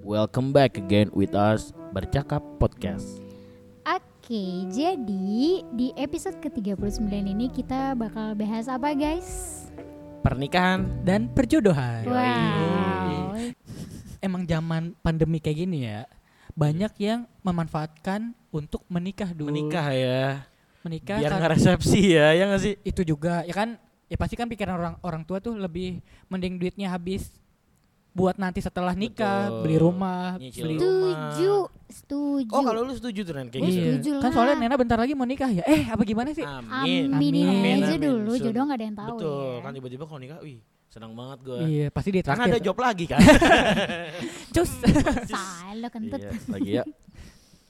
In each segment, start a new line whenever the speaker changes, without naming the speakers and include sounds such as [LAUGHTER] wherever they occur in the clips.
Welcome back again with us Bercakap Podcast
Oke, jadi di episode ke-39 ini kita bakal bahas apa guys?
Pernikahan
dan perjodohan.
Wow.
Emang zaman pandemi kayak gini ya, banyak yang memanfaatkan untuk menikah dulu.
Menikah ya
Menikah
Biar
kar-
nggak resepsi ya Ya nggak sih?
itu juga ya kan ya pasti kan pikiran orang orang tua tuh lebih mending duitnya habis buat nanti setelah nikah,
Betul.
beli rumah,
Nyicil
beli
Setuju, setuju.
Oh kalau lu setuju tuh Nan kayak
Gua
gitu Ah,
Iya.
setuju
Kan
lah.
soalnya Nena bentar lagi mau nikah ya. Eh, apa gimana sih?
Aminin
Amin,
aja
amin.
dulu,
Sur-
jodoh gak ada yang tahu.
Betul
ya.
kan tiba-tiba kalau nikah Wih senang banget gue
Iya, pasti dia
Karena
traktir.
ada job lagi
[LAUGHS]
kan
Cus.
Salah kentut.
Iya, Lagi ya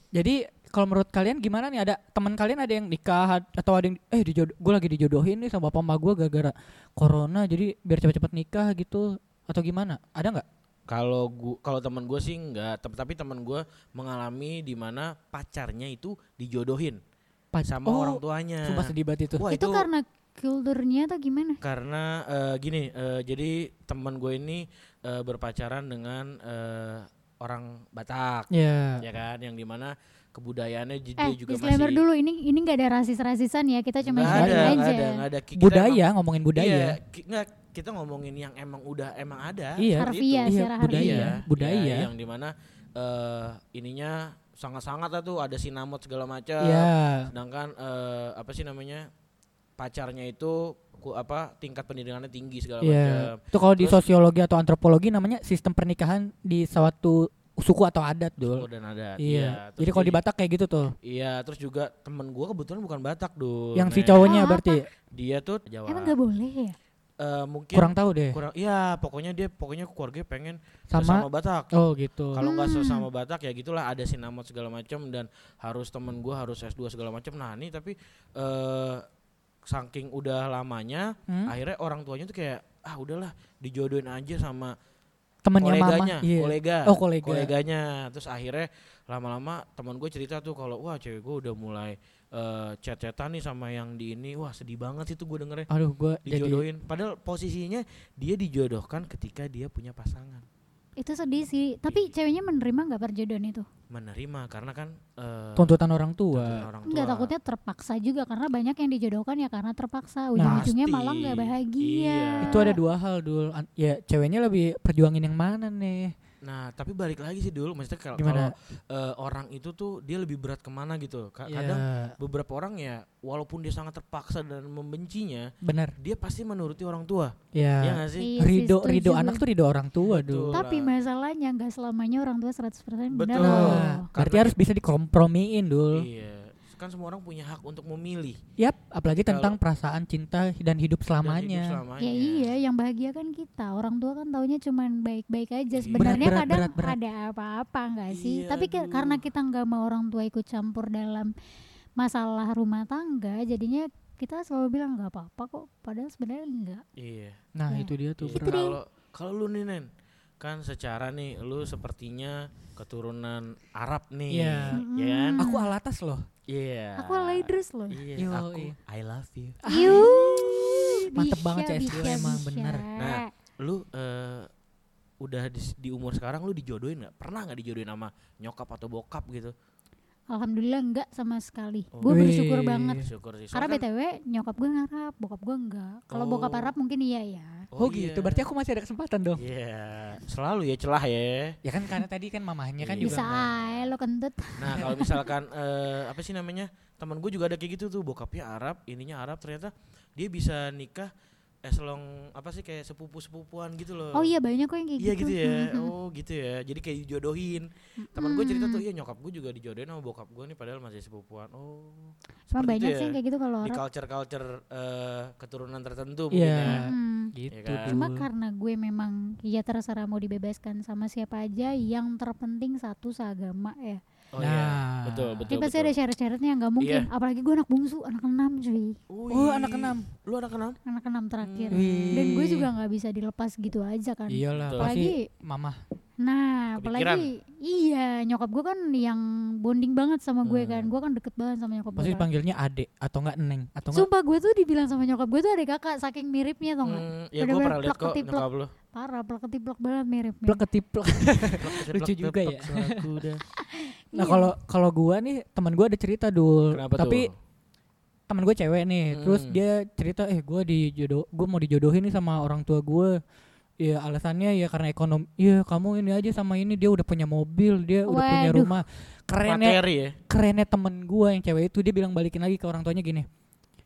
Jadi kalau menurut kalian gimana nih ada teman kalian ada yang nikah ad- atau ada yang eh dijodoh gue lagi dijodohin nih sama bapak mama gue gara-gara corona jadi biar cepat-cepat nikah gitu atau gimana ada nggak
Kalau gua kalau teman gue sih enggak, tep- tapi teman gue mengalami di mana pacarnya itu dijodohin
Pas-
sama
Oh,
orang tuanya.
sumpah sedih banget itu
Wah,
Itu karena kulturnya atau gimana?
karena eh, gini, eh, jadi teman gue ini eh, berpacaran dengan eh, orang Batak,
ya
ya kan, yang di mana kebudayaannya j- dia
Eh,
juga
disclaimer
masih
dulu ini ini nggak ada rasis-rasisan ya, kita cuma
Nggak ada, nggak
sharing aja.
ada, nggak ada. Ki- kita
budaya
emang-
ngomongin
iya,
budaya
ki- nggak, kita ngomongin yang emang udah emang ada.
Iya.
seperti itu.
Harfiah,
iya
secara
budaya
Iya,
budaya
iya, yang dimana eh ininya sangat-sangat lah tuh ada sinamot segala macam.
Iya.
Sedangkan eh apa sih namanya pacarnya itu ku, apa tingkat pendidikannya tinggi segala
Iya.
macam.
itu kalau di
Terus-
sosiologi atau antropologi namanya sistem pernikahan di suatu suku atau adat
Dul.
dul
dan adat.
iya
Terus
jadi kalau di Batak kayak gitu tuh
Iya, terus juga temen gua kebetulan bukan Batak dulu.
yang
Oh,
si cowoknya
apa?
berarti
dia tuh Jawa.
Emang nggak boleh ya?
Eh, mungkin
kurang tahu deh
kurang iya, pokoknya dia pokoknya keluarga pengen
sama
sesama Batak.
oh gitu
Kalau nggak
Hmm.
sesama Batak ya gitulah ada sinamot segala macam dan harus temen gua harus S2 segala macam. Nah, ini tapi eh saking udah lamanya
Hmm?
akhirnya orang tuanya tuh kayak ah udahlah dijodohin aja sama
temennya
koleganya,
mama iya
kolega,
Oh, kolega.
koleganya. Terus akhirnya lama-lama teman gue cerita tuh kalau wah cewek gue udah mulai eh chat-chatan nih sama yang di ini, wah sedih banget itu gue dengernya
Aduh, gue jadi
dijodohin. Padahal posisinya dia dijodohkan ketika dia punya pasangan,
Itu sedih sih. Tapi ceweknya menerima nggak perjodohan itu?
menerima karena kan eh,
tuntutan orang
tuntutan
tua.
orang
Enggak
tua.
takutnya terpaksa juga karena banyak yang dijodohkan ya karena terpaksa ujung-ujungnya
Pasti.
malah nggak bahagia.
Iya.
Itu ada dua hal dul. An- Ya ceweknya lebih perjuangin yang mana nih?
Nah, tapi balik lagi sih dulu, maksudnya kalau kalau,
Gimana?
eh, orang itu tuh dia lebih berat kemana gitu. Ka-
Ya,
Kadang beberapa orang ya, walaupun dia sangat terpaksa dan membencinya,
benar.
dia pasti menuruti orang tua. Iya
Ya.
gak sih?
Iya sih,
Ridho
setuju
ridho
gue.
anak tuh ridho orang tua dul.
Betul.
Tapi masalahnya nggak selamanya orang tua 100%
Iya.
benar
Betul.
loh.
Nah, berarti
Karena-
harus bisa dikompromiin dul.
Iya. Kan semua orang punya hak untuk memilih
Yap, apalagi
Kalau-
tentang perasaan cinta dan hidup
dan hidup
selamanya.
selamanya.
Ya iya, yang bahagia kan kita. Orang tua kan taunya cuman baik-baik aja.
Iya.
Sebenarnya
Berat, berat,
kadang
berat, berat.
ada apa-apa nggak sih?
Iya,
Tapi ke-
aduh.
karena kita nggak mau orang tua ikut campur dalam masalah rumah tangga, jadinya kita selalu bilang nggak apa-apa kok. Padahal sebenarnya enggak.
Iya.
Nah,
Iya.
itu dia tuh.
Iya,
berat.
Kalau kalau lu nih Nen, kan secara nih lu sepertinya keturunan Arab nih.
Iya.
Ya kan?
Mm.
Aku alatas loh.
Iya.
Aku alay terus loh.
Iya,
Yo,
aku
iya.
I love you.
Yuh,
Mantep
bisa,
banget CS2
bisa,
emang,
bisa.
bener.
Nah, Lu eh, udah di, di umur sekarang lu dijodohin nggak? Pernah nggak dijodohin sama nyokap atau bokap gitu?
Alhamdulillah enggak sama sekali.
Oh.
Gue bersyukur
Wih.
banget.
Syukur sih.
Karena
Soalnya kan-
BTW nyokap gue ngarap, bokap gue enggak. Kalau bokap
Oh.
Arab mungkin iya ya.
Oh,
iya.
gitu. Berarti aku masih ada kesempatan dong.
Iya, selalu ya celah ya.
Ya kan karena tadi kan mamahnya kan
Iya.
Bisa
juga.
aja lo kentut.
Nah kalau misalkan eh, apa sih namanya teman gue juga ada kayak gitu tuh bokapnya Arab, ininya Arab ternyata dia bisa nikah eselon apa sih kayak sepupu sepupuan gitu loh.
Oh iya banyak kok yang kayak
Iya
gitu.
gitu ya,
Mhm.
oh gitu ya. Jadi kayak dijodohin. Teman gue cerita tuh, iya nyokap gue juga dijodohin sama bokap gue nih padahal masih sepupuan. Oh. seperti itu
Cuma banyak sih
ya.
yang kayak gitu kalau
Di
Arab.
culture-culture eh, keturunan tertentu
Iya.
mungkin ya.
Mhm.
Gitu.
Iya kan?
Cuma
Dul.
karena gue memang ya terserah mau dibebaskan sama siapa aja yang terpenting satu seagama ya.
Oh iya.
Nah.
Betul, betul.
Jadi pasti
betul. Iya.
ada syarat-syaratnya nggak mungkin. Apalagi gue anak bungsu, anak enam cuy.
Oh, anak enam.
Lu anak enam?
Anak enam terakhir.
Wih.
Dan gue juga nggak bisa dilepas gitu aja kan.
Iyalah,
Betul.
pasti
Apalagi
mamah.
Nah,
Kepikiran.
apalagi iya nyokap gue kan yang bonding banget sama
Hmm.
gue kan. Gue kan deket banget sama nyokap gue.
Pasti dipanggilnya adek atau enggak Neng atau enggak
Sumpah gue tuh dibilang sama nyokap gue tuh ada kakak saking miripnya tau nggak?
Hmm, ya
Udah
gue
bener
pernah lihat kok
plek-ketiplek.
nyokap lu.
Parah, plek-ketiplek banget mirip.
plek ketiplek.
Plek-ketiplek,
Lucu juga ya.
plek-plek, suara kuda.
Nah,
Iya.
kalau kalau gua nih teman gua ada cerita dul.
Kenapa tuh?
Tapi teman gue cewek nih terus
Hmm.
dia cerita eh gue dijodoh gue mau dijodohin nih sama orang tua gue ya alasannya ya karena ekonomi ya kamu ini aja sama ini dia udah punya mobil dia udah punya
Waduh.
rumah kerennya
Materi ya.
kerennya temen gue yang cewek itu dia bilang balikin lagi ke orang tuanya gini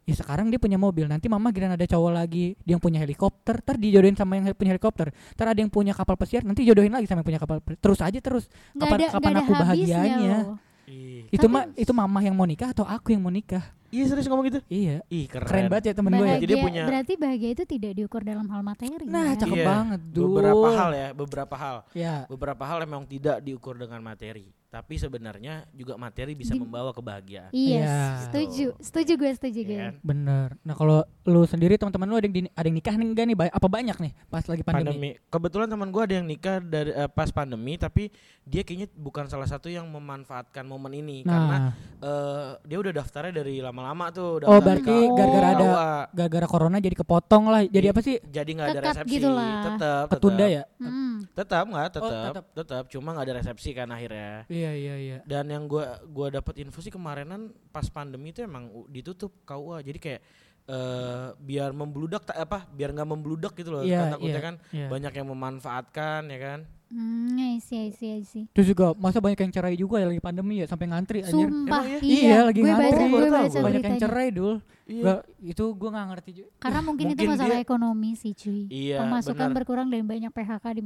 ya sekarang dia punya mobil nanti mama kira ada cowok lagi dia yang punya helikopter ntar dijodohin sama yang punya helikopter ntar ada yang punya kapal pesiar nanti jodohin lagi sama yang punya kapal pesiar. terus aja terus
Nggak
kapan-
ada,
kapan
nggak ada
aku
habisnya
bahagianya?
loh.
Ih.
itu
Tapi-
mah itu mama yang mau nikah atau aku yang mau nikah
Iya serius ngomong gitu.
iya
Ih keren.
keren, banget ya temen gue
Bahagia,
ya.
Jadi dia punya-
Berarti bahagia itu tidak diukur dalam hal materi.
nah
ya.
cakep
Iya.
banget dul
Beberapa hal ya, beberapa hal.
ya
Beberapa hal memang tidak diukur dengan materi, tapi sebenarnya juga materi bisa
Di-
membawa kebahagiaan.
Iya,
Iya.
setuju. Setuju gue, setuju
Iya
gue.
kan?
Bener. Nah kalau lu sendiri teman-teman lu ada yang, di, ada yang nikah nih enggak nih? Ba- Apa banyak nih pas lagi pandemi?
pandemi. Kebetulan teman gue ada yang nikah dari eh, pas pandemi, tapi dia kayaknya bukan salah satu yang memanfaatkan momen ini karena
Nah,
eh, dia udah daftarnya dari lama-lama tuh.
Oh,
daftar di
berarti
K-
gara-gara ada-
KUA.
gara-gara corona jadi kepotong lah. Jadi
Iya.
apa sih?
jadi nggak ada
Kekat
resepsi,
gitu lah.
tetap
Ketunda
tetap.
ya? Oh,
Hmm.
Tetap nggak, tetap,
tetap.
tetap, Cuma nggak ada resepsi kan akhirnya.
Iya iya iya.
Dan yang gua gua dapat info sih kemarinan pas pandemi itu emang u- ditutup KUA. Jadi kayak eh biar membludak tak apa biar nggak membludak gitu loh
Iya,
kan takutnya
iya,
kan banyak yang memanfaatkan ya kan
Hmm, I see, I see, I see.
Terus juga masa banyak yang cerai juga ya lagi pandemi ya sampai ngantri anjir.
Sumpah
Emang iya?
iya,
Iya, lagi
gue
ngantri.
baca,
Baru
gue
tahu gue.
baca
Banyak yang
beritanya.
cerai dul.
Iya.
Gua- itu gua nggak ngerti juga.
Karena mungkin, itu
Mungkin
masalah
dia-
ekonomi sih, cuy.
Iya,
Pemasukan
benar.
berkurang dan banyak PHK di
Wah,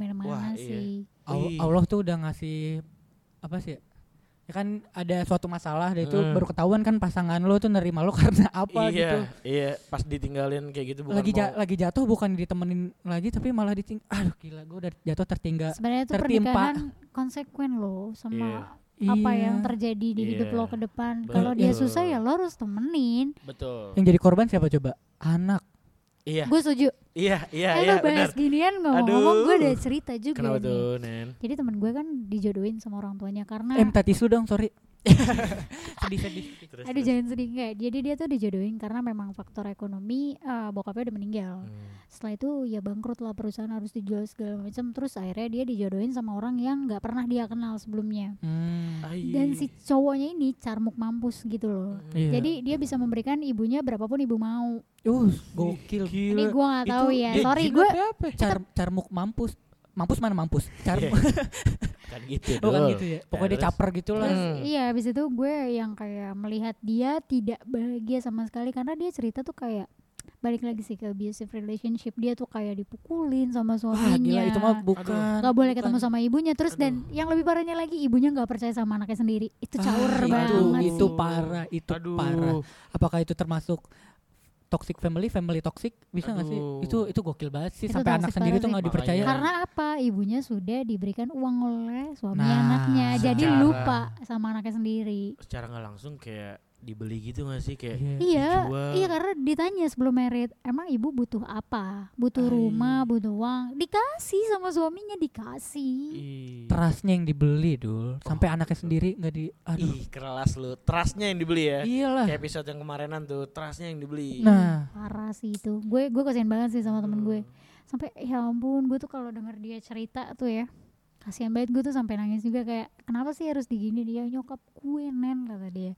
iya.
mana-mana sih.
Al-
Ih.
Allah tuh udah ngasih apa sih? ya? Ya kan ada suatu masalah dan itu
Hmm.
baru ketahuan kan pasangan lo tuh nerima lo [LAUGHS] karena
iya,
apa gitu.
Iya, pas ditinggalin kayak gitu bukan
lagi ja-
mau-
lagi jatuh bukan ditemenin lagi tapi malah diting aduh gila gue udah jatuh tertinggal
Sebenarnya itu
tertimpa.
pernikahan konsekuen loh sama apa
Iya.
yang terjadi di hidup
Iya.
lo ke depan. Kalau dia
Betul.
susah ya lo harus temenin.
betul.
yang jadi korban siapa coba anak
Iya,
Gue setuju.
iya, iya,
eh
iya,
lo bahas
benar.
ginian ngomong-ngomong gue
Aduh.
ada cerita juga
Kenapa
nih.
tuh, Nen?
Jadi temen gue kan dijodohin sama orang tuanya karena
em tadi Eh, tisu dong
[LAUGHS]
sorry sedih sedih
Terus,
Aduh
terus.
jangan sedih enggak. Jadi dia tuh dijodohin karena memang faktor ekonomi eh, bokapnya udah meninggal.
Hmm.
Setelah itu ya bangkrut lah perusahaan harus dijual segala macam. Terus akhirnya dia dijodohin sama orang yang nggak pernah dia kenal sebelumnya.
Hmm,
Ai.
Dan si cowoknya ini carmuk mampus gitu loh.
iya.
Jadi dia bisa memberikan ibunya berapapun ibu mau.
uh gokil
Ini
Gila.
gua nggak tahu
Itu
ya.
dia
Sorry
gila
gue
apa apa?
car carmuk mampus mampus mana mampus
Iya.
[LAUGHS]
carmuk
Kan gitu
bukan
dong.
gitu ya pokoknya dia
Terus?
caper gitu lah
Hmm.
Iya, habis itu gue yang kayak melihat dia tidak bahagia sama sekali karena dia cerita tuh kayak balik lagi sih ke abusive relationship dia tuh kayak dipukulin sama
wah
suaminya.
gila itu mah bukan
Gak boleh ketemu
bukan.
sama ibunya terus dan yang lebih parahnya lagi ibunya nggak percaya sama anaknya sendiri itu
Ah, gitu.
caur
itu,
banget sih.
itu parah itu
Aduh.
parah apakah itu termasuk toxic family family toxic bisa nggak sih
Aduh.
itu itu gokil banget sih
Itu
sampai
toxic
anak
parah
sendiri tuh
sih.
nggak dipercaya
Makanya.
karena apa ibunya sudah diberikan uang oleh suami
Nah,
anaknya jadi
secara-
lupa sama anaknya sendiri
Secara nggak langsung kayak dibeli gitu gak sih kayak
Iya.
Iya,
dijual.
iya karena ditanya sebelum merit, emang ibu butuh apa?
Ah,
Butuh
iya.
Hai.
rumah, butuh uang. Dikasih sama suaminya dikasih.
Ih.
Trustnya yang dibeli dul sampai
Oh,
anaknya
gitu.
sendiri nggak di aduh
Ih, kelas lu. Trustnya yang dibeli ya.
iyalah
Kayak episode yang kemarinan tuh, trustnya yang dibeli.
nah
Parah sih itu. Gue gue kasihan banget sih sama temen gue. Sampai ya ampun, gue tuh kalau denger dia cerita tuh ya. Kasihan banget gue tuh sampai nangis juga kayak kenapa sih harus digini dia nyokap gue nen kata dia.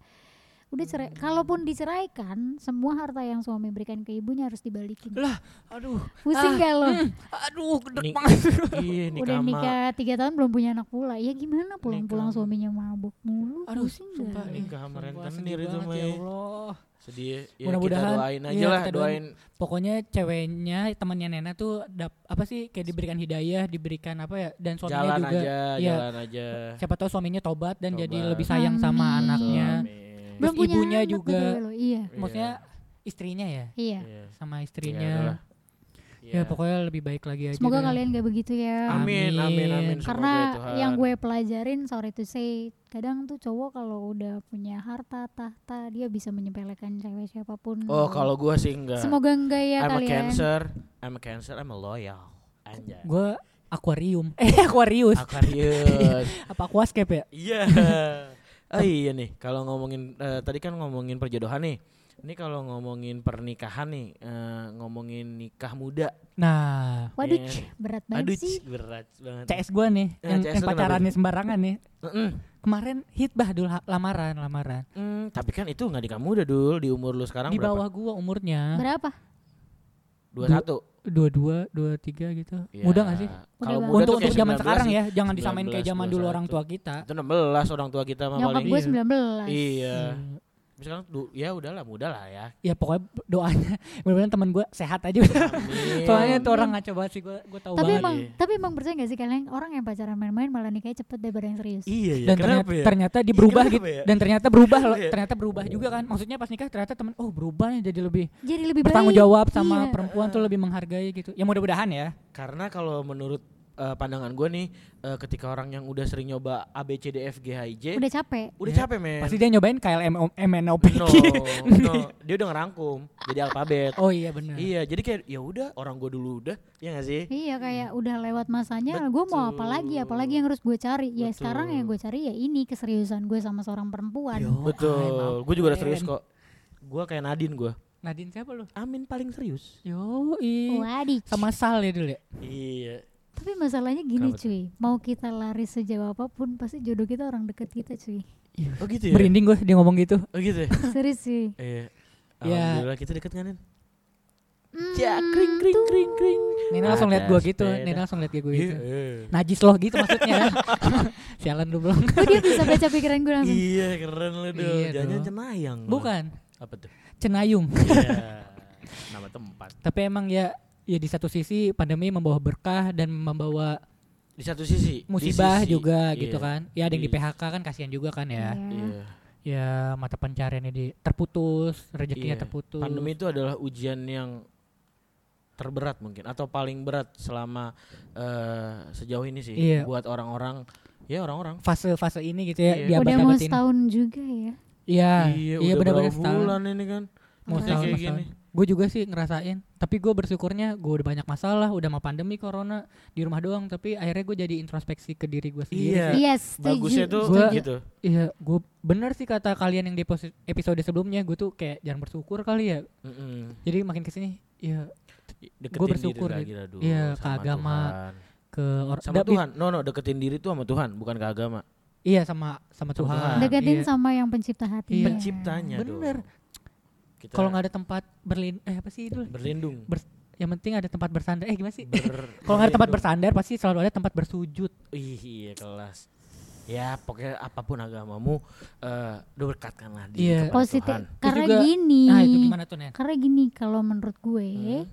Udah cerai, kalaupun diceraikan, semua harta yang suami berikan ke ibunya harus dibalikin.
lah aduh
Pusing
Ah,
gak lo?
hmm, aduh gede
Ni-
[LAUGHS] banget
Iya, nikah
udah
sama-
nikah tiga tahun belum punya anak pula ya gimana pulang-pulang
Nikah.
suaminya mabuk mulu
aduh
pusing nggak?
sumpah
Ini kamar
sumpah,
rentenir
sedih
itu,
banget,
Mai.
ya Allah
Sedih. Ya,
Mudah-mudahan.
kita doain aja
Iya,
lah,
kita doain.
doain.
pokoknya ceweknya temannya Nena tuh dap, apa sih kayak diberikan hidayah diberikan apa ya dan
Jalan
suaminya juga
aja,
Iya.
jalan aja.
siapa tahu suaminya tobat dan jadi
Tobat.
lebih sayang sama
Amin.
anaknya
Amin.
Terus ibunya
anak,
juga.
betul loh. iya
Iya.
maksudnya istrinya ya
iya
Iya.
sama
Iya,
istrinya
adalah.
ya,
Iya.
pokoknya lebih baik lagi aja
semoga
gitu
dah.
kalian gak begitu ya
Amin, amin, amin. semoga
karena
ya Tuhan.
yang gue pelajarin sorry to say kadang tuh cowok kalau udah punya harta tahta dia bisa menyepelekan cewek siapapun
Oh, kalau gue sih enggak.
semoga enggak ya
I'm a
kalian
cancer, I'm a cancer, I'm a loyal. Anjay. kan
gue akuarium. [LAUGHS] Eh, Aquarius. [LAUGHS]
Aquarius.
Apa aquascape ya?
[LAUGHS] Iya. Ah iya nih, kalau ngomongin eh, tadi kan ngomongin perjodohan nih. Ini kalau ngomongin pernikahan nih, eh, ngomongin nikah muda.
Nah,
Waduh,
Iya.
cih, berat banget
Aduh, cih,
sih.
berat banget.
CS gua nih
Ya,
yang,
CS
yang
lu kenapa
pacarannya sembarangan nih.
Mm-mm.
Kemarin hitbah dulu ha- lamaran, lamaran.
Mm, tapi kan itu nggak nikah muda dul di umur lu sekarang
Di
berapa?
bawah gua umurnya
Berapa?
21.
dua dua dua tiga gitu.
Ya,
Mudah gak sih?
Kalau
banget.
muda
Udah
Untuk
tuh
untuk
kayak
zaman
19
sekarang
sih.
ya, jangan disamain kayak
19,
zaman dulu orang
21.
tua kita.
Itu 16 orang tua kita mah
Nyokap
paling.
gue
Iya.
19.
Iya.
Hmm.
Tapi sekarang du- ya udahlah muda lah ya.
Ya pokoknya doanya [LAUGHS] mudah-mudahan teman gua sehat aja. [LAUGHS] Soalnya tuh orang ngaco banget sih gua gua tahu
Tapi
banget.
emang,
iya.
tapi emang percaya gak sih kalian orang yang pacaran main-main malah nikahnya cepet daripada yang serius?
Iya ya.
dan ternyata,
kenapa ya?
ternyata dia berubah
kenapa
gitu
ya?
dan ternyata berubah loh
Kenapa ya?
ternyata berubah juga kan maksudnya pas nikah ternyata temen oh berubahnya jadi lebih
Jadi lebih baik.
bertanggung jawab sama
Iya.
perempuan tuh lebih menghargai gitu ya mudah-mudahan ya
Karena kalau menurut eh, pandangan gue nih, eh, ketika orang yang udah sering nyoba A B C D F G H I J, udah,
Udah capek.
capek men.
pasti dia nyobain KLM O- MNOP
[LAUGHS] no, no, dia udah ngerangkum jadi alfabet.
oh iya benar
Iya, jadi kayak ya udah orang gue dulu udah, ya gak sih?
Iya kayak udah lewat masanya gue mau apa lagi apalagi yang harus gue cari ya
Betul.
sekarang yang gue cari ya ini keseriusan gue sama seorang perempuan
Betul. Gue juga udah serius
Amin.
kok. Gue kayak Nadine gue.
Nadine siapa lu
Amin paling serius.
yo i
Waduh
sama Sal ya dulu ya
Iya.
tapi masalahnya gini
Kenapa tuh?
cuy mau kita lari sejauh apapun pasti jodoh kita orang deket kita cuy [LAUGHS]
Oh gitu ya.
berinding gue dia ngomong gitu
Oh gitu ya.
serius cuy
Iya.
Ya.
Alhamdulillah kita deket gak Nin?
Hmm,
Ya, kring kring kring kring.
Nina langsung
Ada
lihat gue gitu
sepeda.
Nina langsung lihat gue gitu
Iya.
najis loh gitu maksudnya
[LAUGHS]
sialan lu belum
Hmm.
kok dia bisa baca pikiran gue langsung
Iya keren lu dong.
Iya,
Jangan
dong.
cenayang. lu.
bukan
Apa tuh?
Cenayung
Iya. [LAUGHS] Nama tempat.
tapi emang ya ya di satu sisi pandemi membawa berkah dan membawa
Di satu sisi. di
musibah
sisi.
juga
Iya.
gitu kan ya ada yang di
Iya.
PHK kan kasihan juga kan
Iya.
ya
Iya.
ya mata pencariannya di terputus
Iya.
rezekinya terputus
Pandemi itu adalah ujian yang terberat mungkin atau paling berat selama eh, sejauh ini sih
Iya.
buat orang-orang ya orang-orang
fase fase ini gitu ya
Iya.
di abad
udah mau
abad ini
setahun juga ya
iya iya
udah
benar-benar
berapa
setahun
bulan ini kan
mau
Maksudnya
setahun
kayak
setahun.
gini.
gue juga sih ngerasain tapi gue bersyukurnya gue udah banyak masalah udah mau pandemi corona di rumah doang tapi akhirnya gue jadi introspeksi ke diri gue sendiri
Iya.
sih.
iya setuju
bagusnya tuh
Gua-
gitu
iya gue bener sih kata kalian yang di posi- episode sebelumnya gue tuh kayak jangan bersyukur kali ya
Mm-mm.
jadi makin kesini ya
deketin
Gua bersyukur
diri lagi
gitu.
lah dulu
Iya, ke
sama
agama.
Tuhan.
ke orang
sama Tuhan no no deketin diri tuh sama Tuhan bukan ke agama
Iya sama sama Tuhan.
Tuhan.
deketin
Iya.
sama yang pencipta hati ya.
Iya.
penciptanya
Bener.
dong. Kita
Kalau nggak ada tempat berlin eh apa sih itu?
berlindung
Yang penting ada tempat bersandar. Eh gimana sih?
Ber- iya.
Kalau nggak ada tempat
berlindung.
bersandar pasti selalu ada tempat bersujud.
Ih, iya kelas ya pokoknya apapun agamamu eh diberkatkanlah di
Iya.
kepada
positif
Tuhan.
karena
juga-
gini
Nah, itu gimana tuh, Nen?
karena gini kalau menurut gue
Hmm.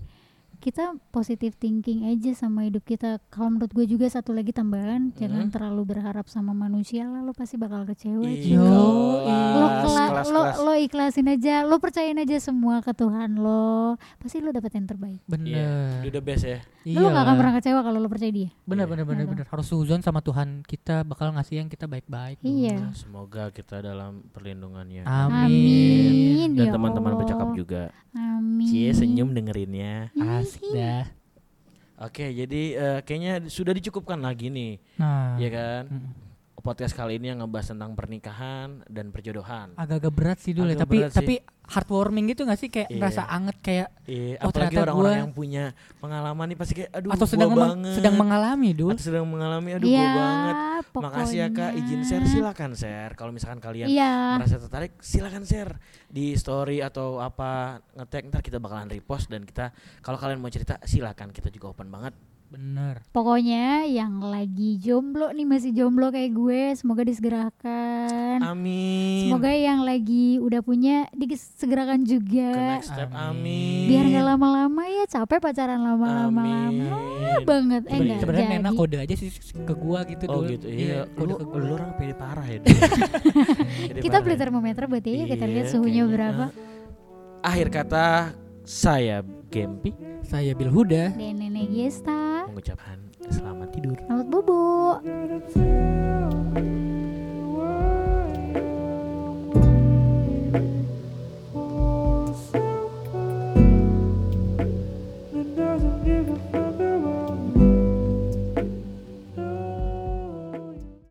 kita positive thinking aja sama hidup kita kalau menurut gue juga satu lagi tambahan jangan
Mhm.
terlalu berharap sama manusia lah lo pasti bakal kecewa
Ih,
cuy.
Yo,
lo,
kelas,
kela-
kelas,
lo,
kelas.
lo ikhlasin aja lo percayain aja semua ke Tuhan lo pasti lo dapet yang terbaik
Iya,
Bener. Iya.
do the best ya.
lo gak akan pernah kecewa kalau lo percaya dia
Bener
Iya.
bener bener
Kenapa?
bener. Harus suzon sama Tuhan kita bakal ngasih yang kita baik-baik. dong.
iya
Semoga kita dalam perlindungannya.
Amin.
Amin,
Dan
ya
teman-teman
Allah.
bercakap juga.
amin
Cie senyum dengerinnya.
Asda.
Oke, jadi eh, kayaknya sudah dicukupkan lagi nih,
Nah.
ya kan?
Mm.
Podcast kali ini yang ngebahas tentang pernikahan dan perjodohan.
Agak-agak berat sih dulu ya,
Agak
tapi
berat sih.
tapi heartwarming gitu gak sih kayak
Iya.
ngerasa anget kayak
Eh,
Oh,
apalagi
ternyata
orang-orang
gua-
yang punya pengalaman nih pasti kayak aduh
atau
gua
sedang meng-
banget.
sedang mengalami dulu.
atau sedang mengalami aduh
Iya,
gua banget. Makasih ya Kak,
pokoknya.
izin share silakan share kalau misalkan kalian
iya
merasa tertarik silakan share di story atau apa ngetag ntar kita bakalan repost dan kita kalau kalian mau cerita silakan kita juga open banget
Bener.
Pokoknya yang lagi jomblo nih masih jomblo kayak gue semoga disegerakan.
amin
Semoga yang lagi udah punya disegerakan
ke
juga.
next step amin
Amin.
Biar nggak lama-lama ya capek pacaran lama-lama lama
Amin.
banget. Eh
Seben-
enggak
Sebenarnya Nena
jadi.
kode aja sih ke gua gitu
oh
dulu.
gitu iya,
kode
lu,
ke gua.
lu orang pede parah
[LAUGHS]
ya Pede parah
Kita beli
ya.
termometer buat dia kita
Iya,
lihat suhunya
kayaknya.
berapa.
akhir kata saya Gempi
Saya Bilhuda.
Dan Nenek Gesta.
mengucapkan selamat tidur
Selamat bobo.